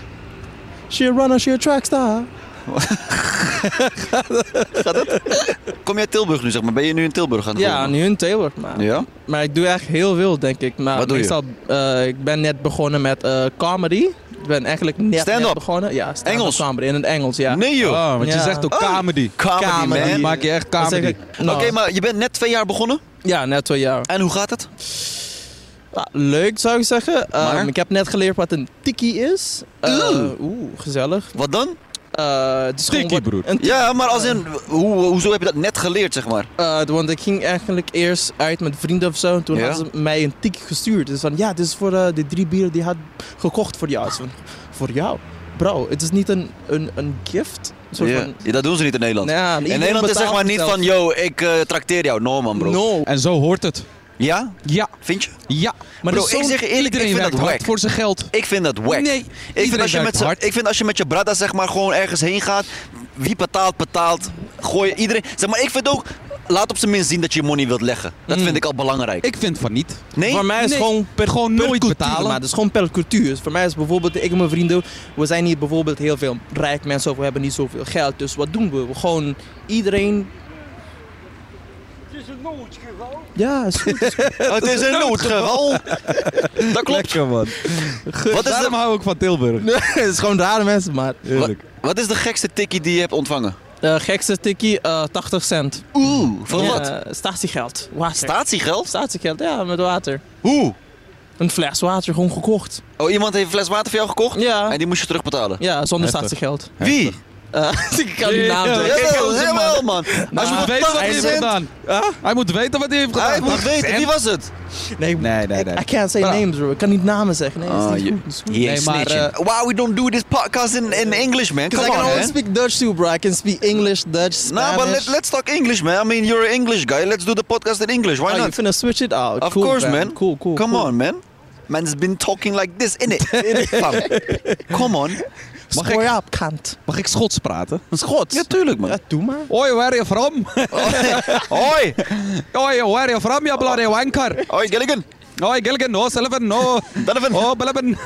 S2: She a runner, she a trackstar.
S1: Kom jij Tilburg nu, zeg maar? Ben je nu in Tilburg aan het
S2: Ja,
S1: wonen?
S2: nu in Tilburg. Maar,
S1: Ja?
S2: maar ik doe echt heel veel, denk ik. Maar
S1: Wat doe je?
S2: meestal, eh, ik ben net begonnen met eh, comedy. Ik ben eigenlijk net,
S1: Stand-up?
S2: net begonnen. Ja, stand-up
S1: Engels?
S2: comedy. In het Engels, ja.
S1: Nee joh.
S5: Oh, want je
S2: Ja.
S5: zegt ook
S1: Oh.
S5: comedy.
S1: Comedy,
S2: comedy.
S1: man.
S5: Dan maak je echt
S2: Dat zeg
S5: comedy.
S2: ik- nou,
S1: Oké, maar je bent net twee jaar begonnen.
S2: Ja, net twee jaar.
S1: En hoe gaat het?
S2: Ja, leuk zou ik zeggen. Ehm,
S1: Maar?
S2: Ik heb net geleerd wat een tiki is. Eh,
S1: Oeh.
S2: Oeh, gezellig.
S1: Wat dan?
S2: Eh, het is gewoon
S5: Tiki,
S2: wat-
S5: broer.
S2: een-
S1: Ja, maar als in, hoe, hoezo heb je dat net geleerd, zeg maar?
S2: eh, want ik ging eigenlijk eerst uit met vrienden of zo. En toen
S1: Ja?
S2: hadden ze mij een tiki gestuurd. Dus van ja, dit is voor eh, de drie bieren die je had gekocht voor jou. Dus van, voor jou? Bro, het is niet een, een, een gift. Een soort
S1: Ja.
S2: van-
S1: Ja, dat doen ze niet in Nederland.
S2: Nou ja,
S1: in
S2: iedereen
S1: Nederland is zeg
S2: betaalt
S1: maar niet
S2: zelf.
S1: van, yo, ik eh, trakteer jou. No man, bro.
S2: No.
S5: En zo hoort het.
S1: Ja?
S5: Ja,
S1: Vind je?
S5: ja.
S1: Bro,
S2: Maar dat is
S1: ik
S2: zo'n-
S1: zeg je eerlijk, ik
S5: Iedereen
S1: vind dat
S5: werkt hard
S1: wack.
S5: voor zijn geld.
S1: Ik vind dat wack.
S5: Nee,
S1: ik, vind
S5: iedereen
S1: als je
S5: werkt
S1: met z'n-
S5: hard.
S1: ik vind als je met je brada zeg maar gewoon ergens heen gaat, wie betaalt, betaalt. Gooi je iedereen. Zeg maar, ik vind ook, laat op zijn minst zien dat je je money wilt leggen. Dat vind ik al belangrijk.
S5: Mm. Ik vind van niet.
S1: nee?
S2: Voor mij is
S5: Nee,
S2: gewoon per,
S5: gewoon
S2: per
S5: nooit
S2: cultuur,
S5: betalen.
S2: Maar het is gewoon per cultuur. Dus voor mij is bijvoorbeeld, ik en mijn vrienden, we zijn hier bijvoorbeeld heel veel rijk mensen of we hebben niet zoveel geld. Dus wat doen we? We gewoon iedereen. Ja, is goed.
S1: het is een noodgeval. dat klopt.
S5: man.
S1: Wat is,
S5: Daarom
S1: de,
S5: hou ik van Tilburg.
S2: het is gewoon rare mensen, maar.
S1: wa- wat is de gekste tikkie die je hebt ontvangen?
S2: De gekste tikkie, eh 80 cent.
S1: Oeh, van
S2: Ja, Eh,
S1: wat?
S2: Statiegeld. Water.
S1: Statiegeld?
S2: Statiegeld, ja, met water.
S1: Hoe?
S2: Een fles water gewoon gekocht.
S1: Oh, iemand heeft een fles water voor jou gekocht?
S2: Ja.
S1: En die moest je terugbetalen?
S2: Ja, zonder
S5: Heftig.
S2: statiegeld.
S1: Wie?
S2: Eh, ik kan die naam
S5: Ja,
S2: doen.
S1: Ja, jawel, man. Als je
S5: Nou, Hij moet weten wat hij
S1: 80
S5: heeft
S1: cent-
S5: gedaan. Hij moet weten wat hij heeft gedaan.
S1: Hij moet
S5: 80
S1: weten,
S5: cent.
S1: wie was het?
S2: Nee,
S5: Nee, nee, nee.
S2: I can't say
S5: Bra-
S2: names, bro. Ik kan niet namen zeggen. Nee, is
S1: Ah,
S2: niet
S1: je-
S2: goed, is goed.
S1: Yeah,
S5: Nee, maar,
S1: snitching. wow, we don't do this podcast in, in English, man. Come
S2: uh, Because I
S1: on,
S2: can only
S1: man.
S2: speak Dutch too, bro. I can speak English, Dutch,
S1: Nah,
S2: Spanish.
S1: but let, let's talk English, man. I mean, you're an English guy. Let's do the podcast in English. Why
S2: Oh, you
S1: not?
S2: finna switch it out.
S1: Of
S2: cool,
S1: course, man.
S2: Cool, cool.
S1: Come
S2: cool.
S1: on, man. Man's been talking like this, innit? Fam. Come on.
S5: Mag
S2: Score
S5: ik-
S2: up, kant.
S5: Mag ik Schots praten?
S2: Schot.
S1: Ja, tuurlijk, man.
S2: Ja, doe maar.
S5: Oi, where are you from?
S1: Hoi.
S5: Oi, where are you from, you bloody wanker?
S1: Hoi, Gilligan.
S5: Oi, Gilligan, no, Sullivan, no.
S1: Donovan.
S5: Oh, Blabben.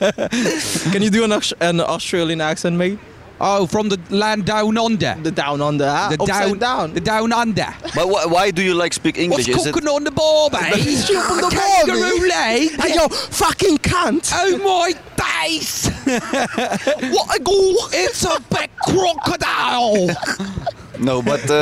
S2: Can you do an, Aus- an Australian accent, mate?
S5: Oh, from the land down under.
S2: The down on the...
S5: The
S2: upside down.
S5: The down under.
S1: But why, why do you like speak English?
S5: What's cooking on the ball,
S2: on
S5: mate?
S2: the ball,
S5: Kangaroo leg.
S2: Hey, yo, fucking kant.
S5: Oh my days! what a goal! It's a big crocodile!
S1: No, but uh, uh,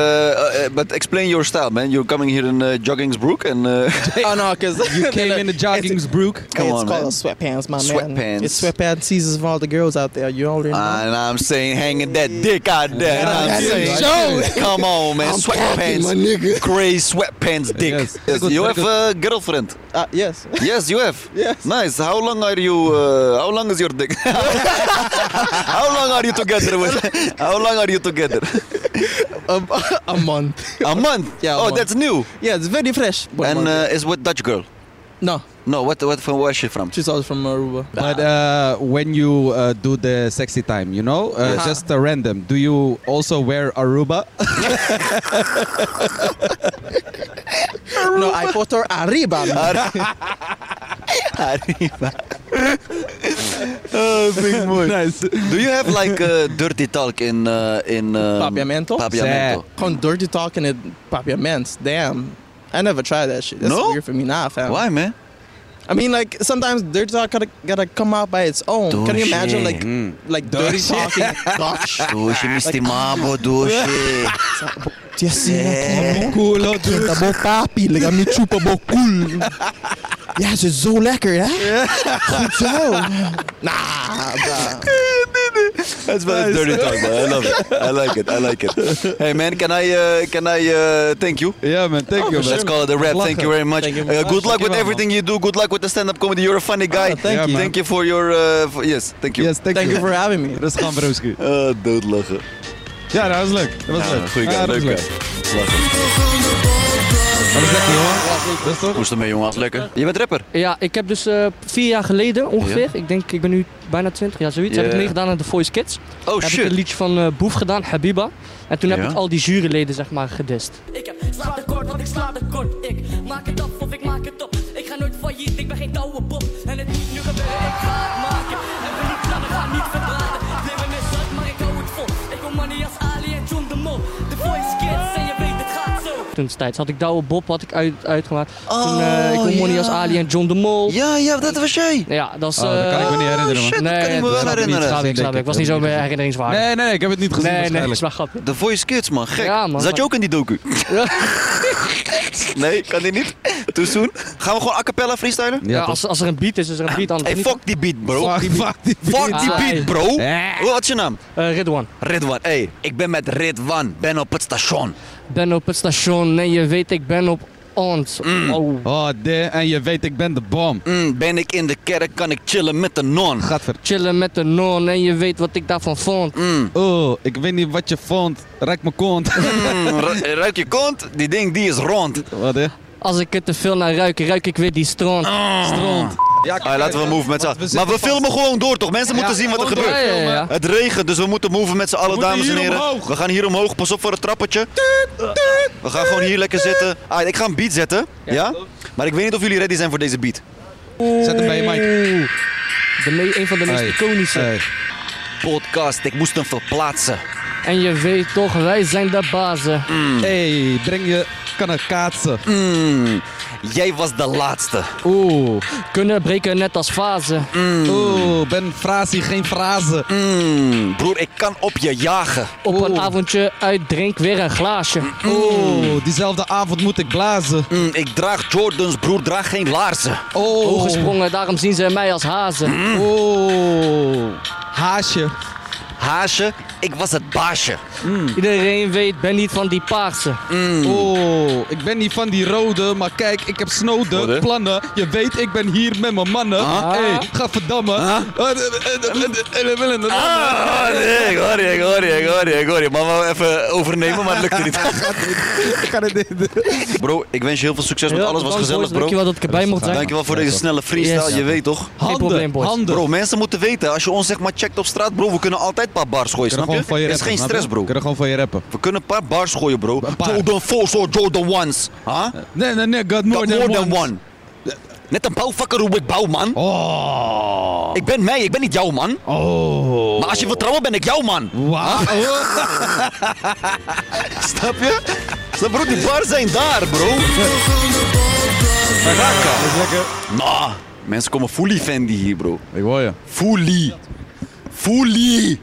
S1: uh, but explain your style, man. You're coming here in uh, joggingsbrook and uh,
S2: Oh, no, because...
S5: You came in the joggings, Brook.
S1: Come
S2: it's
S1: on,
S2: called
S1: man.
S2: sweatpants, my man.
S1: Sweatpants. Uh,
S2: It's sweatpants season for all the girls out there. You already know.
S1: and I'm saying hanging that dick out there. And I'm
S7: That's
S1: saying,
S7: it.
S1: come on, man.
S7: I'm packing, my
S1: sweatpants,
S7: nigga.
S1: crazy sweatpants, dick.
S5: Yes.
S1: Yes,
S5: Good,
S1: you
S5: very
S1: have a girlfriend.
S2: Ah, yes.
S1: Yes, you have.
S2: Yes.
S1: Nice. How long are you? Uh, how long is your dick? how long are you together with? How long are you together?
S2: a, a month.
S1: A month?
S2: Yeah, a
S1: oh,
S2: month.
S1: that's new.
S2: Yeah, it's very fresh. One
S1: and
S2: month.
S1: uh, is with Dutch girl.
S2: no,
S1: No, what, what from where is she from?
S2: she's also from Aruba.
S5: But uh, when you uh, do the sexy time, you know, uh,
S2: Yes.
S5: just uh, random, do you also wear Aruba?
S2: no, I put her Arriba. man.
S1: Arriba. oh, vind ik mooi.
S5: nice.
S1: Do you have like uh, dirty talk in uh, in um,
S2: Papiamento?
S1: Papiamento.
S2: Gewoon dirty talking it papiaments. Damn. I never tried that shit. That's
S1: No?
S2: weird for me. Nah, fam.
S1: Why, man?
S2: I mean, like sometimes dirty talk gotta, gotta come out by its own. Can you
S1: Touché.
S2: imagine, like,
S1: Mm.
S2: like dirty talking? Gosh.
S1: Douche, Misty Mabo, douche.
S2: Yes,
S1: Eh.
S2: yeah.
S5: Cool,
S2: papi, like I'm super cool. Ja, ze is zo lekker, hè? Goed zo. Nah, bruh.
S1: That's very dirty talk, man. I love it. I like it. I like it. Hey, man, can I uh, can I uh, thank you?
S5: Yeah, man, thank
S2: Oh,
S5: you.
S1: Let's call it a wrap. Thank you very much.
S2: Thank you
S1: Uh,
S2: much.
S1: good luck
S5: Thank you
S1: with
S5: very
S1: everything you do. Good luck with the stand-up comedy. You're a funny guy.
S5: thank Yeah, you. man.
S1: Thank you for your uh, for- yes. Thank you.
S5: Yes, thank,
S2: Thank you for having me.
S5: Dat is gaan broski.
S1: Uh, doodlachen.
S5: Ja, dat was leuk. Dat was leuk.
S1: Goeie
S5: ja,
S1: guy.
S5: dat was
S1: Leuk.
S5: leuk.
S1: guy. Lachen.
S5: Dat was lekker, jongen. Dat is toch?
S1: Hoe is het ermee, jongen? Was lekker. Je bent rapper.
S9: Ja, ik heb dus eh, vier jaar geleden ongeveer, ik denk ik ben nu bijna 20 jaar zoiets, heb
S1: Ja.
S9: ik meegedaan aan The Voice Kids.
S1: Oh
S9: heb ik een
S1: shit.
S9: liedje van eh, Boef gedaan, Habiba. En toen
S1: Ja.
S9: heb ik al die juryleden zeg maar gedist.
S10: Ik heb slaap tekort, want ik slaap tekort. Ik maak het af of ik maak het op. Ik ga nooit failliet, ik ben geen touwe Bob. En het moet nu gebeuren, ik ga het maken. En we niet plannen, gaan niet verdraden. Het leven is hard, maar ik hou het vol. Ik kom money als Ali en John de Mol. The Voice Kids, en je weet het gaat zo.
S9: Toen tijd had ik Douwe Bob had ik uit, uitgemaakt. toen eh, ik
S1: Oh,
S9: kon Money als
S1: ja.
S9: Ali en John de Mol. Ja,
S1: Ja, ja, dat was jij.
S9: dat is... eh,
S5: Oh, dat kan ik me niet herinneren, man.
S1: shit, dat kan ik me wel
S9: snap
S1: herinneren.
S9: Niet, snap ik, snap ik. was niet zo meer herinneringswaardig.
S5: Nee, nee, ik heb het niet gezien
S9: nee, nee,
S5: waarschijnlijk.
S9: is maar grappig.
S1: The Voice Kids, man. Gek.
S9: Ja, man.
S1: Zat je ook in die docu? nee, kan die niet. Too soon. Gaan we gewoon a cappella freestylen?
S9: Ja, als, als er een beat is, is er een beat. Anders
S1: Hey,
S9: niet.
S1: fuck die Ah. beat, bro.
S5: Fuck, fuck die
S1: Fuck die
S9: Ai.
S1: beat, bro.
S5: Eh.
S1: Wat is je naam?
S9: Eh, Ridwan.
S1: Ridwan. Hey, ik ben met Ridwan. Ben op het station.
S9: Ben op het station. Nee, je weet ik ben op ons. Oh.
S5: Oh, de, en je weet, ik ben de bom.
S1: Mm, ben ik in de kerk, kan ik chillen met de non.
S5: Gadver.
S9: Chillen met de non en je weet wat ik daarvan vond.
S1: Mm,
S5: Oh, ik weet niet wat je vond. Raak me kont.
S1: mm, ru- ruik je kont? Die ding die is rond.
S5: wat, hè?
S9: Als ik er te veel naar ruik, ruik ik weer die stront.
S5: Stront. Ja,
S1: Ah, laten we move met z'n
S5: Want we
S1: allen. Maar we
S5: zitten
S1: filmen gewoon door, toch? Mensen moeten
S5: Ja,
S1: zien wat er
S5: gewoon
S1: gebeurt.
S9: door filmen. Ja, ja, ja.
S1: Het regent, dus we moeten move met z'n allen,
S5: moeten
S1: dames en
S5: hier
S1: heren.
S5: omhoog.
S1: We gaan hier omhoog. Pas op voor het trappetje. We gaan gewoon hier lekker zitten. Ah, ik ga een beat zetten. Ja? Maar ik weet niet of jullie ready zijn voor deze beat.
S5: Zet hem bij je mic.
S9: Oeh. De me- een van de meest
S5: Hey,
S9: iconische.
S5: hey.
S1: Podcast, ik moest hem verplaatsen.
S9: En je weet toch, wij zijn de bazen.
S5: Hey, breng je kan kaatsen.
S1: Mm, jij was de laatste.
S5: Oeh,
S9: Kunnen breken net als fase.
S5: oeh, ben frasie, geen frase.
S1: Mm, broer, ik kan op je jagen.
S9: Op een
S5: Oeh.
S9: avondje uit drink weer een glaasje.
S5: Oeh, diezelfde avond moet ik blazen.
S1: Mm, ik draag Jordans, broer, draag geen laarzen.
S5: Oh,
S9: Hoog gesprongen, daarom zien ze mij als hazen.
S5: Oeh, haasje.
S1: Haasje, ik was het baasje.
S9: Iedereen weet, ben niet van die paarse.
S5: Oeh, ik ben niet van die rode, maar kijk, ik
S1: Wat,
S5: heb
S1: hè?
S5: snode plannen. Je weet, ik ben hier met mijn mannen.
S1: Ah.
S5: Hey, ga verdammen.
S1: Ah.
S5: Eh, eh, eh, eh, eh, eh, eh,
S1: Ah, nee, ik hoor je, ik hoor je, ik hoor je, ik hoor je. Maar wou even overnemen, maar het lukte niet.
S5: Ik ga dit-
S1: Bro, ik wens je heel veel succes met
S9: Heel
S1: alles. Was
S9: bedankt,
S1: gezellig,
S9: boys.
S1: bro.
S9: Dankjewel dat ik erbij mocht zijn.
S1: Dankjewel voor deze snelle freestyle,
S9: Yes.
S1: je weet toch?
S9: Geen probleem,
S5: Handen,
S9: boys.
S5: handen.
S1: Bro, mensen moeten weten, als je ons zeg maar checkt op straat, bro, we kunnen altijd een paar bars gooien,
S5: Kunnen
S1: snap
S5: gewoon
S1: je?
S5: van je
S1: Het is
S5: rappen,
S1: geen
S5: snap je?
S1: stress, bro.
S5: Kunnen gewoon van je rappen.
S1: We kunnen een paar bars gooien, bro.
S5: paar.
S1: Jordan 4's or Jordan 1's. Huh?
S5: Nee, nee, nee, got more,
S1: Got more than
S5: one.
S1: one. Net een bouwvakker hoe ik bouw, man.
S5: Oh.
S1: Ik ben mij, ik ben niet jou, man.
S5: Oh.
S1: Maar als je vertrouwen ben ik jou, man.
S5: Wauw. Oh.
S1: Snap je? Snap bro, die bars zijn daar, bro. Raka. Nah, mensen komen fully Fendi hier, bro.
S5: Ik hoor je.
S1: Fully. Fully.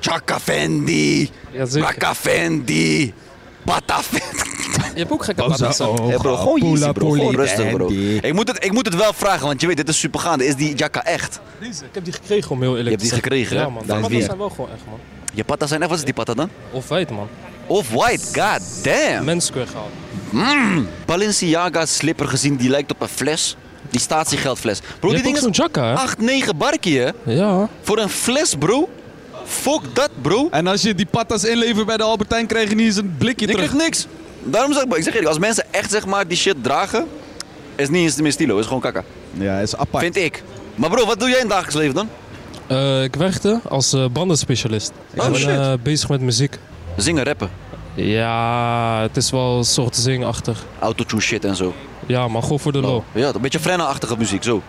S1: Chaka Fendi.
S9: Jazeker.
S1: Raka Fendi. Pata Fendi.
S9: Je hebt ook gekke paarse.
S1: Hey bro, gewoon easy, bro. Gewoon rustig, bro. Ik moet, het, ik moet het wel vragen, want je weet, dit is supergaande. Is die jacka echt?
S11: Ik heb die gekregen om heel
S1: Je
S11: eerlijk
S1: hebt
S11: te
S1: die
S11: zijn.
S1: gekregen, hè?
S11: Ja man,
S5: Daar
S11: die
S5: is
S11: patas
S5: die.
S11: zijn wel gewoon echt man.
S1: Je patas zijn echt, wat is die pata dan?
S11: Of wijd man.
S1: Off-white, god damn.
S11: Mensquare gehaald.
S1: Balenciaga slipper gezien, die lijkt op een fles. Die statiegeldfles. Bro,
S11: Je
S1: die
S11: hebt
S1: ding
S11: ook
S1: is
S11: zo'n jacka hè?
S1: 8, 9 barkie, hè?
S11: Ja.
S1: Voor een fles, bro. Fuck dat, bro.
S5: En als je die patas inlevert bij de Albertijn, krijg je niet eens een blikje
S1: Je
S5: terug.
S1: krijgt niks. Daarom zeg ik, maar, ik zeg eerlijk, als mensen echt zeg maar die shit dragen, is niet eens meer stilo, is gewoon kakka.
S5: Ja, is apart.
S1: Vind ik. Maar bro, wat doe jij in het dagelijks leven dan?
S11: Eh, ik werkte als eh, bandenspecialist. Ik
S1: Oh,
S11: ben
S1: shit.
S11: eh, bezig met muziek.
S1: Zingen, rappen,
S11: Ja, het is wel een soort zingachtig.
S1: autotune shit en zo.
S11: Ja, maar gewoon voor de lol.
S1: Ja, een beetje Frenna-achtige muziek, zo.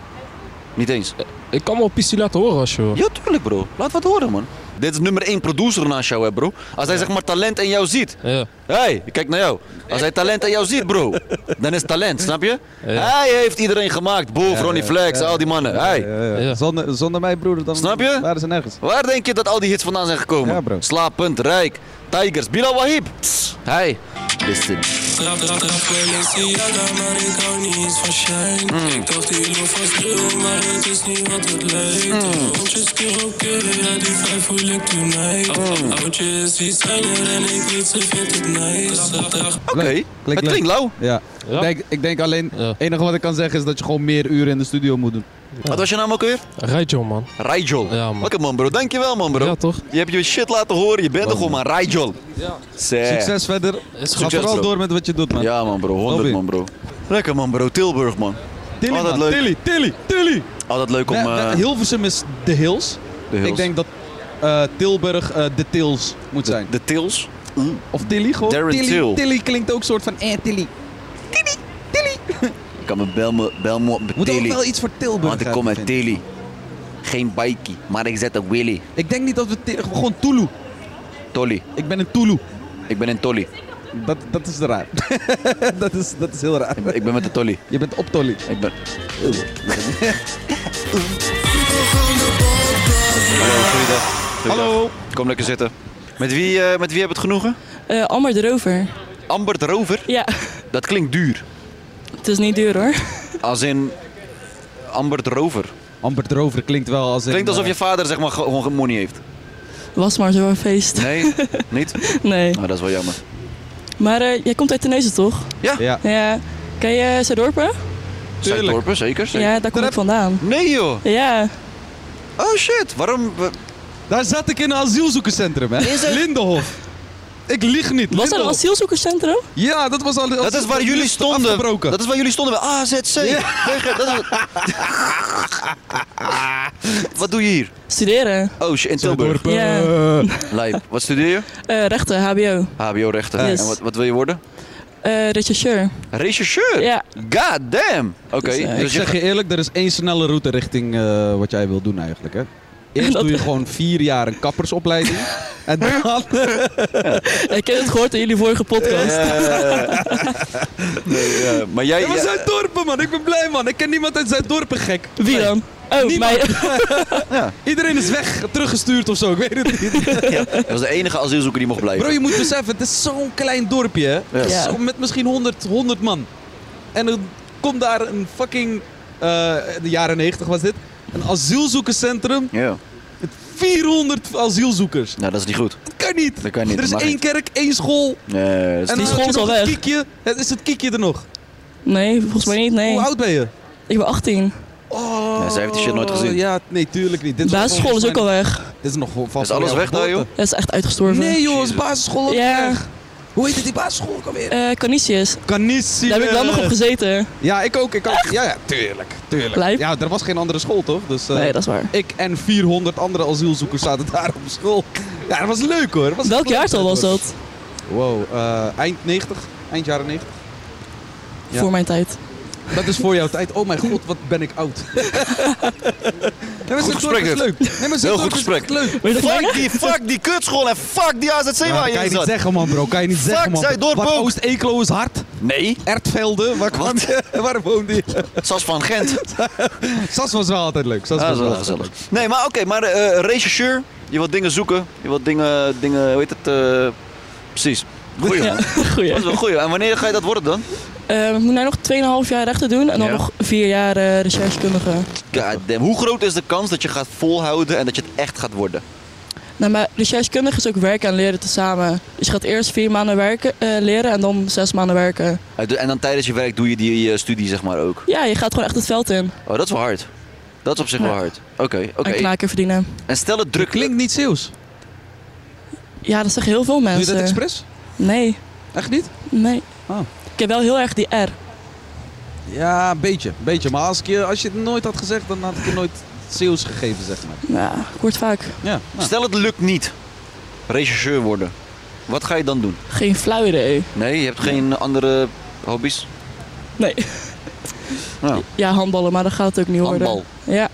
S1: Niet eens.
S11: Ik kan wel pissie laten horen als je wil.
S1: Ja, tuurlijk bro. Laat wat horen man. Dit is nummer 1 producer naast jou hè bro. Als hij zeg maar talent in jou ziet.
S11: Ja.
S1: Hé, hey, ik kijk naar jou. Als hij talent aan jou ziet, bro, dan is het talent, snap je? Hij heeft iedereen gemaakt. Boef, Ronnie Flex, al die mannen. Hey.
S11: Ja.
S5: Zonder, zonder mij, broeder, dan
S1: Snap je?
S5: waren ze nergens.
S1: Waar denk je dat al die hits vandaan zijn gekomen?
S5: Ja, bro.
S1: Slapend, Rijk, Tigers, Bilal Wahib. Hey, listen.
S10: Trap, trap, trap, Balenciaga, maar ik hou niet eens van shine.
S1: Mm.
S10: Ik dacht die loof was real, maar het is niet wat het lijkt.
S1: Mm.
S10: Rondjes karaoke, ja die vijf voel ik toen mij.
S1: Mm.
S10: Oudje is iets kleiner en ik weet ze vindt het nice. Trap, trap,
S1: Oké,
S5: leuk.
S1: het klinkt lauw.
S5: Ja.
S11: Ja.
S5: Ik Denk, ik denk alleen,
S11: Ja.
S5: het enige wat ik kan zeggen is dat je gewoon meer uren in de studio moet doen.
S1: Wat was je naam ook weer?
S11: Rijtje, man.
S1: Rijjol.
S11: Ja, man.
S1: Wakker man bro, dankjewel man bro.
S11: Ja, toch?
S1: Je hebt je shit laten horen, je bent er gewoon man. Rijjol. Ja.
S5: Succes verder. Ga
S1: Succes,
S5: vooral
S1: bro.
S5: door met wat je doet, man.
S1: Ja man bro, 100
S5: Lobby.
S1: man bro. Lekker man bro, Tilburg man.
S5: Tilly,
S1: Altijd
S5: man.
S1: Oh, leuk.
S5: Tilly, Tilly, Tilly.
S1: Altijd leuk om...
S5: We- we-
S1: eh,
S5: Hilversum is de hills.
S1: de hills.
S5: Ik denk dat eh, Tilburg eh, de Tils moet zijn.
S1: De Tils. Hm?
S5: Of Tilly gewoon.
S1: Darren
S5: Tilly,
S1: Till.
S5: Tilly klinkt ook soort van eh, Tilly.
S1: Ik kan me bel me, bel me op de
S5: Moet ook wel
S1: Tilly.
S5: iets voor Tilburg
S1: Want ik
S5: hebben,
S1: kom uit
S5: vind ik.
S1: Tilly. Geen bikie, maar ik zet een Willy.
S5: Ik denk niet dat we Tilly... Gewoon Tulu.
S1: Tolly.
S5: Ik ben een Tulu.
S1: Ik ben in Tolly.
S5: Dat, dat is raar. dat, is, dat is heel raar.
S1: Ik ben met de Tolly.
S5: Je bent op Tolly.
S1: Ik ben...
S5: Hallo.
S1: Kom lekker zitten. Met wie, eh, met wie heb het genoegen?
S10: Eh, Amber de Rover.
S1: Amber de Rover.
S10: Ja,
S1: Dat klinkt duur.
S10: het is niet duur hoor.
S1: Als in Amber de Rover.
S5: Amber Drover klinkt wel als in...
S1: Klinkt alsof
S5: eh,
S1: je vader zeg maar gewoon geen money heeft.
S10: Was maar zo'n feest.
S1: Nee, niet?
S10: Nee.
S1: Nou, dat is wel jammer.
S10: Maar eh, jij komt uit Tenneuzen toch?
S5: eh, Ja.
S10: Ja. Ken je Zuidorpen?
S1: Zuidorpen, zeker? zeker.
S10: Ja, daar kom ik vandaan.
S1: Nee joh.
S10: Ja.
S1: Oh shit, waarom... we-
S5: Daar zat ik in een asielzoekerscentrum, hè.
S10: Is er-
S5: Lindenhof. Ik lieg niet.
S10: Was er een
S5: Lindenhof.
S10: asielzoekerscentrum?
S5: Ja, dat was al...
S1: Dat is waar jullie stonden.
S5: Afgebroken.
S1: Dat is waar jullie stonden bij AZC. Tegen- dat is- Wat doe je hier?
S10: Studeren.
S1: Oh shit, in Tilburg.
S10: Ja.
S1: Lijp. Wat studeer je?
S10: Eh, rechten, HBO.
S1: HBO-rechten.
S10: Yes.
S1: En wat, wat wil je worden?
S10: Eh rechercheur.
S1: Rechercheur?
S10: Ja.
S1: God damn. Oké.
S10: Dus, eh,
S5: Ik
S1: dus je-
S5: zeg je eerlijk, er is één snelle route richting eh, wat jij wil doen eigenlijk, hè. Eerst
S10: Dat-
S5: doe je gewoon vier jaar een kappersopleiding. en dan...
S10: Ik heb het gehoord in jullie vorige podcast.
S1: Nee, ja, maar jij...
S5: Ja, maar
S1: ja,
S5: Zuiddorpen, man. Ik ben blij, man. Ik ken niemand uit Zuiddorpen, gek.
S10: Wie dan? Oh, mij.
S5: Niemand. Iedereen is weg, teruggestuurd of zo. Ik weet het niet.
S1: dat was de enige asielzoeker die mocht blijven.
S5: Bro, je moet beseffen, het is zo'n klein dorpje, hè.
S1: Ja.
S5: Zo Met misschien 100, 100 man. En er komt daar een fucking... eh, in de jaren 90 was dit. Een asielzoekerscentrum.
S1: Ja.
S5: 400 asielzoekers.
S1: Nou, dat is niet goed.
S5: Dat kan niet.
S1: Dat kan niet,
S5: Er is
S1: mag
S5: één
S1: niet.
S5: kerk, één school.
S1: Nee, dat is
S10: Dus die
S5: En dan
S10: school
S5: heb
S10: is
S5: je
S10: al
S5: nog een
S10: weg.
S5: Kiekje. Het is het kiekje er nog.
S10: Nee, volgens mij niet. Nee.
S5: Hoe oud ben je?
S10: Ik ben 18.
S5: Oh,
S1: Ja, zij heeft die shit nooit gezien.
S5: Ja, nee, tuurlijk niet. Dit was
S10: Basisschool
S5: volgens
S10: is ook
S5: mij-
S10: al weg.
S5: Dit is nog vol- vast.
S1: Is alles
S5: voor
S1: weg nou,
S5: jouw
S1: daar,
S5: geboorte.
S10: Dat is echt uitgestorven.
S5: Nee, joh, is basisschool ook
S10: Ja.
S5: weg. Hoe heet het die basisschool ook alweer?
S10: Eh Canisius.
S5: Canissi.
S10: Daar heb ik wel nog op gezeten.
S5: Ja, ik ook. Ik ook. Ja, ja, tuurlijk. tuurlijk.
S10: Lijp.
S5: Ja, er was geen andere school, toch? Dus, eh,
S10: Nee, dat is waar.
S5: Ik en 400 andere asielzoekers zaten daar op school. Ja, dat was leuk hoor. Dat Was
S10: Welk jaartal was
S5: hoor.
S10: dat?
S5: Wow, eh, eind 90, eind jaren 90. Ja.
S10: Voor mijn tijd.
S5: Dat is voor jouw tijd. Oh mijn god, wat ben ik oud. nee, maar
S1: Goed gesprek
S5: is
S1: dit.
S5: leuk. Nee, maar
S1: Heel goed gesprek.
S5: leuk.
S10: Weet je het
S1: Fuck
S10: langer?
S1: die, fuck die kutschool en fuck Nou, die AZC waar je
S5: kan
S1: in
S5: je niet
S1: zat.
S5: zeggen man bro, kan je niet zeggen man.
S1: Zuidorp
S5: Want
S1: ook.
S5: Oost-Eeklo is hard.
S1: Nee,
S5: Ertvelde, waar, kwam je? waar woonde je?
S1: Sas van Gent.
S5: Sas was wel altijd leuk. Sas
S1: Ah,
S5: was
S1: dat is wel gezellig. Nee, maar oké, maar eh rechercheur, je wilt dingen zoeken, je wilt dingen, dingen hoe heet het, eh, precies. Goeie man.
S10: Goeie.
S1: Dat is wel een goeie. En wanneer ga je dat worden dan?
S12: Ehm,
S10: Eh, ik moet nou nog 2,5 jaar rechten doen en dan
S1: Ja.
S10: nog 4 jaar eh recherchekundige.
S1: God damn. Hoe groot is de kans dat je gaat volhouden en dat je het echt gaat worden?
S10: Nou, maar recherchekundige is ook werken en leren tezamen. Dus je gaat eerst 4 maanden werken, eh, leren en dan 6 maanden werken.
S1: Eh, En dan tijdens je werk doe je die eh, studie zeg maar ook.
S10: Ja, je gaat gewoon echt het veld in
S1: Oh, dat is wel hard. Dat is op zich wel
S10: Ja.
S1: hard. Oké, oké.
S10: en knaken verdienen.
S1: En stel het
S5: Druk
S1: druk.
S5: klinkt niet Zeeuws.
S12: Ja, dat zeggen heel veel mensen.
S5: Doe je dat expres?
S12: Nee.
S5: Echt niet?
S12: Nee.
S5: Oh.
S12: Ik heb wel heel erg die R.
S5: Ja, een beetje, een beetje. Maar als, ik je, als je het nooit had gezegd, dan had ik je nooit sales gegeven, zeg maar.
S12: Ja, ik word vaak.
S5: Ja, nou.
S1: Stel het lukt niet. Regisseur worden. Wat ga je dan doen?
S12: Geen flauw idee.
S1: Nee, je hebt geen andere hobby's?
S12: Nee.
S1: Nou,
S12: Ja, handballen, maar dat gaat het ook niet
S1: handbal.
S12: worden. Ja.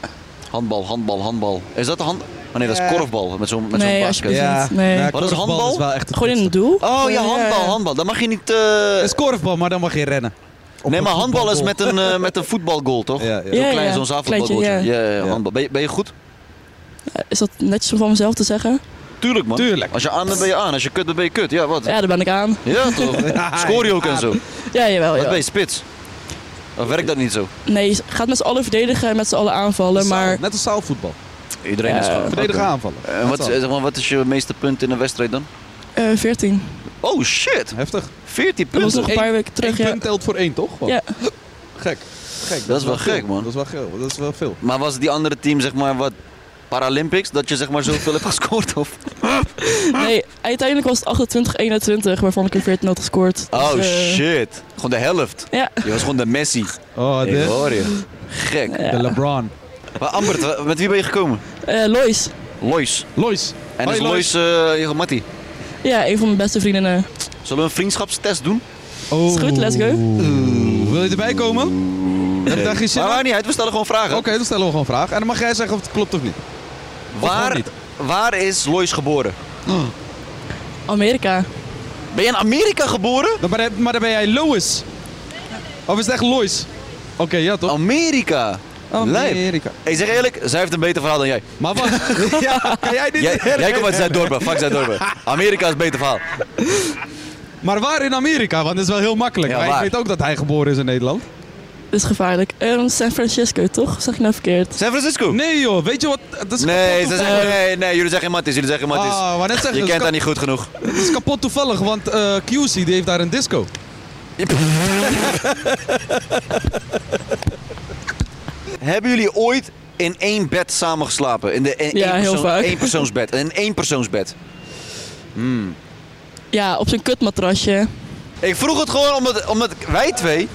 S1: Handbal, handbal, handbal. Is dat de hand... Oh nee, dat is
S12: Eh.
S1: korfbal. Met zo'n met
S12: Nee,
S1: zo'n
S12: alsjeblieft Ja, niet. Nee. ja,
S1: Wat is
S12: korfbal
S1: handbal?
S12: is wel echt
S1: Gewoon in het
S12: doel.
S1: Oh ja,
S12: Ja,
S1: handbal,
S12: ja.
S1: handbal. Dan mag je niet... Het
S5: is korfbal, maar dan mag je rennen.
S1: nee, maar
S5: een
S1: handbal is met
S5: voetbalgoal.
S1: een, eh, met een voetbalgoal, toch? Ja, Zo'n
S12: Ja,
S1: klein,
S12: ja.
S1: zo'n zaalvoetbalgoaltje. Ja.
S12: Kleintje,
S1: Ja,
S12: ja.
S1: ja, handbal. Ben je, ben je goed?
S12: Is dat netjes om van mezelf te zeggen?
S1: Tuurlijk, man. Tuurlijk. Als je aan bent, ben je aan. Als je kut bent, ben je kut. Ja, wat?
S12: Ja, daar ben ik aan.
S1: Ja, Oh, toch? Score je ook en zo.
S12: Ja, jawel.
S1: Wat
S12: jawel.
S1: ben je, spits? Of werkt dat niet zo?
S12: Nee, je gaat met z'n allen verdedigen en met z'n allen aanvallen, maar...
S5: Net als zaalvoetbal.
S1: Iedereen is
S12: Ja.
S1: gewoon.
S5: Verdedigen
S1: Eh, Oké.
S5: aanvallen.
S1: En wat,
S5: Dat
S1: eh,
S5: zal.
S1: zeg maar, wat is je meeste punt in een wedstrijd dan?
S12: eh 14.
S1: Oh shit!
S5: Heftig.
S1: 14
S12: Dat
S1: punten.
S12: was nog een paar weken terug,
S5: Eén
S12: ja.
S5: punt telt voor één, toch? Gewoon.
S12: Ja.
S5: Gek. Gek.
S1: Dat is wel
S5: veel.
S1: gek, man.
S5: Dat is wel gek. Dat is wel veel.
S1: Maar was die andere team zeg maar wat Paralympics? Dat je zeg maar zoveel hebt gescoord of?
S12: Nee, uiteindelijk was het 28-21, waarvan ik er 14 had gescoord.
S1: Oh
S12: Dus, eh,
S1: shit! Gewoon de helft.
S12: Ja.
S1: Je was gewoon de Messi.
S5: Oh,
S1: Ik
S5: dit.
S1: hoor je. Gek.
S12: Ja. De
S5: LeBron.
S1: Maar Ambert, wa- met wie ben je gekomen?
S12: eh, Lois.
S1: Lois.
S5: Lois.
S1: En
S12: Hoi,
S1: is Lois eh, je mattie?
S12: Ja, een van mijn beste vriendinnen.
S1: Zullen we een vriendschapstest doen?
S5: Oh.
S12: Is goed, let's go.
S5: Wil je erbij komen? Heb je daar geen zin
S1: Maar
S5: in?
S1: maakt niet uit, we stellen gewoon vragen.
S5: Oké, dan stellen we gewoon vragen. En dan mag jij zeggen of het klopt of niet.
S1: Waar,
S5: niet.
S1: waar is Lois geboren?
S12: Amerika.
S1: Ben je in Amerika geboren?
S5: Dan ben- maar dan ben jij Lois. Of is het echt Lois? Oké, ja toch?
S1: Amerika. Lijp.
S5: Amerika.
S1: Ik zeg eerlijk, zij heeft een beter verhaal dan jij.
S5: Maar wat? ja, kan jij dit
S1: Jij, jij komt uit Zuid-Dorpen, fuck Zuid-Dorpen. Amerika is een beter verhaal.
S5: Maar waar in Amerika? Want dat is wel heel makkelijk.
S1: Ja,
S5: Maar ik
S1: waar?
S5: weet ook dat hij geboren is in Nederland.
S12: Dat is gevaarlijk. Eh, San Francisco, toch? Zeg ik nou verkeerd?
S1: San Francisco?
S5: Nee joh, weet je wat? Dat is
S1: Nee,
S5: kapot
S1: ze
S5: toevallig.
S1: zeggen, nee, nee, jullie zeggen Mattis, jullie zeggen Mattis.
S5: Ah, wou net zeggen,
S1: je
S5: dat
S1: kent
S5: kan-
S1: haar niet goed genoeg.
S5: Het is kapot toevallig, want eh, QC die heeft daar een disco.
S1: Hebben jullie ooit in één bed samen geslapen? In, de, in
S12: Ja,
S1: één
S12: heel
S1: persoon-
S12: vaak.
S1: één persoonsbed. In één persoonsbed. Hmm.
S12: Ja, op zijn kutmatrasje.
S1: Ik vroeg het gewoon omdat, omdat wij twee,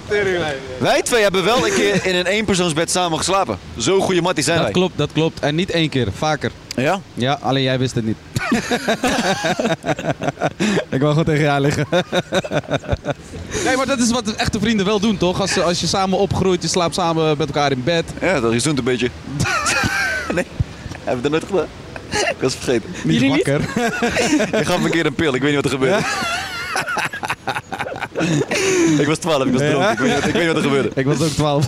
S1: wij twee hebben wel een keer in een eenpersoonsbed samen geslapen. Zo goede matties zijn
S5: Dat
S1: wij.
S5: klopt, dat klopt. En niet één keer, vaker.
S1: Ja?
S5: Ja, alleen jij wist het niet. ik wou gewoon tegen jou liggen. nee, maar dat is wat echte vrienden wel doen, toch? Als, ze- als je samen opgroeit, je slaapt samen met elkaar in bed.
S1: Ja, dat is een beetje. nee, hebben we dat nooit gedaan? Ik was het vergeten.
S5: Niet
S12: Jullie niet?
S5: wakker.
S1: Ik gaf me een keer een pil, ik weet niet wat er gebeurde. ik was 12, ik was dronken, ik weet, niet- ik weet niet wat er gebeurde.
S5: Ik was ook twaalf.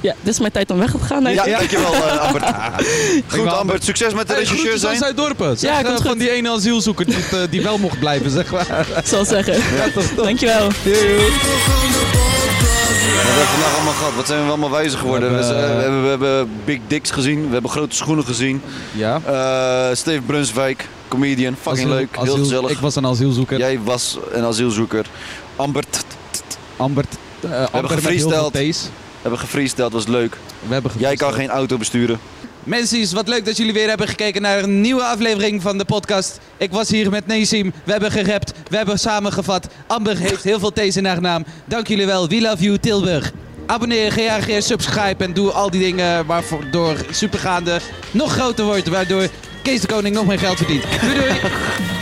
S12: Ja, dit is mijn tijd om weg te gaan. Nee,
S1: Ja, dankjewel eh, Ambert. Goed Ambert, succes met de
S5: Hey,
S1: regisseur
S5: groetjes aan
S1: zijn.
S5: Zuid-Dorpen. Zeg,
S12: Ja,
S5: eh,
S12: komt
S5: van
S12: goed.
S5: die ene asielzoeker die, eh, die wel mocht blijven, zeg maar.
S12: Ik zal het zeggen. Dankjewel.
S1: Wat hebben we vandaag allemaal gehad? Wat zijn we allemaal wijzer geworden? We,
S5: We hebben-
S1: zijn- we hebben, eh, we hebben Big Dicks gezien, we hebben grote schoenen gezien.
S5: Ja.
S1: Eh, Steve Brunswijk, comedian, fucking
S5: Asiel-
S1: leuk, heel
S5: asiel-
S1: gezellig.
S5: Ik was een asielzoeker.
S1: Jij was een asielzoeker. Ambert,
S5: Ambert. eh, Ambert met heel veel
S1: gefreestyled.
S5: T's.
S1: we hebben gefreesteld, was leuk.
S5: We hebben
S1: Jij kan
S5: gefreestyled.
S1: geen auto besturen.
S5: Mensen, wat leuk dat jullie weer hebben gekeken naar een nieuwe aflevering van de podcast. Ik was hier met Neesim. We hebben gerapt. We hebben samengevat. Amber heeft heel veel T's in haar naam. Dank jullie wel. We love you, Tilburg. Abonneer, reageer, subscribe en doe al die dingen waardoor Supergaande nog groter wordt. Waardoor Kees de Koning nog meer geld verdient. Doei doei!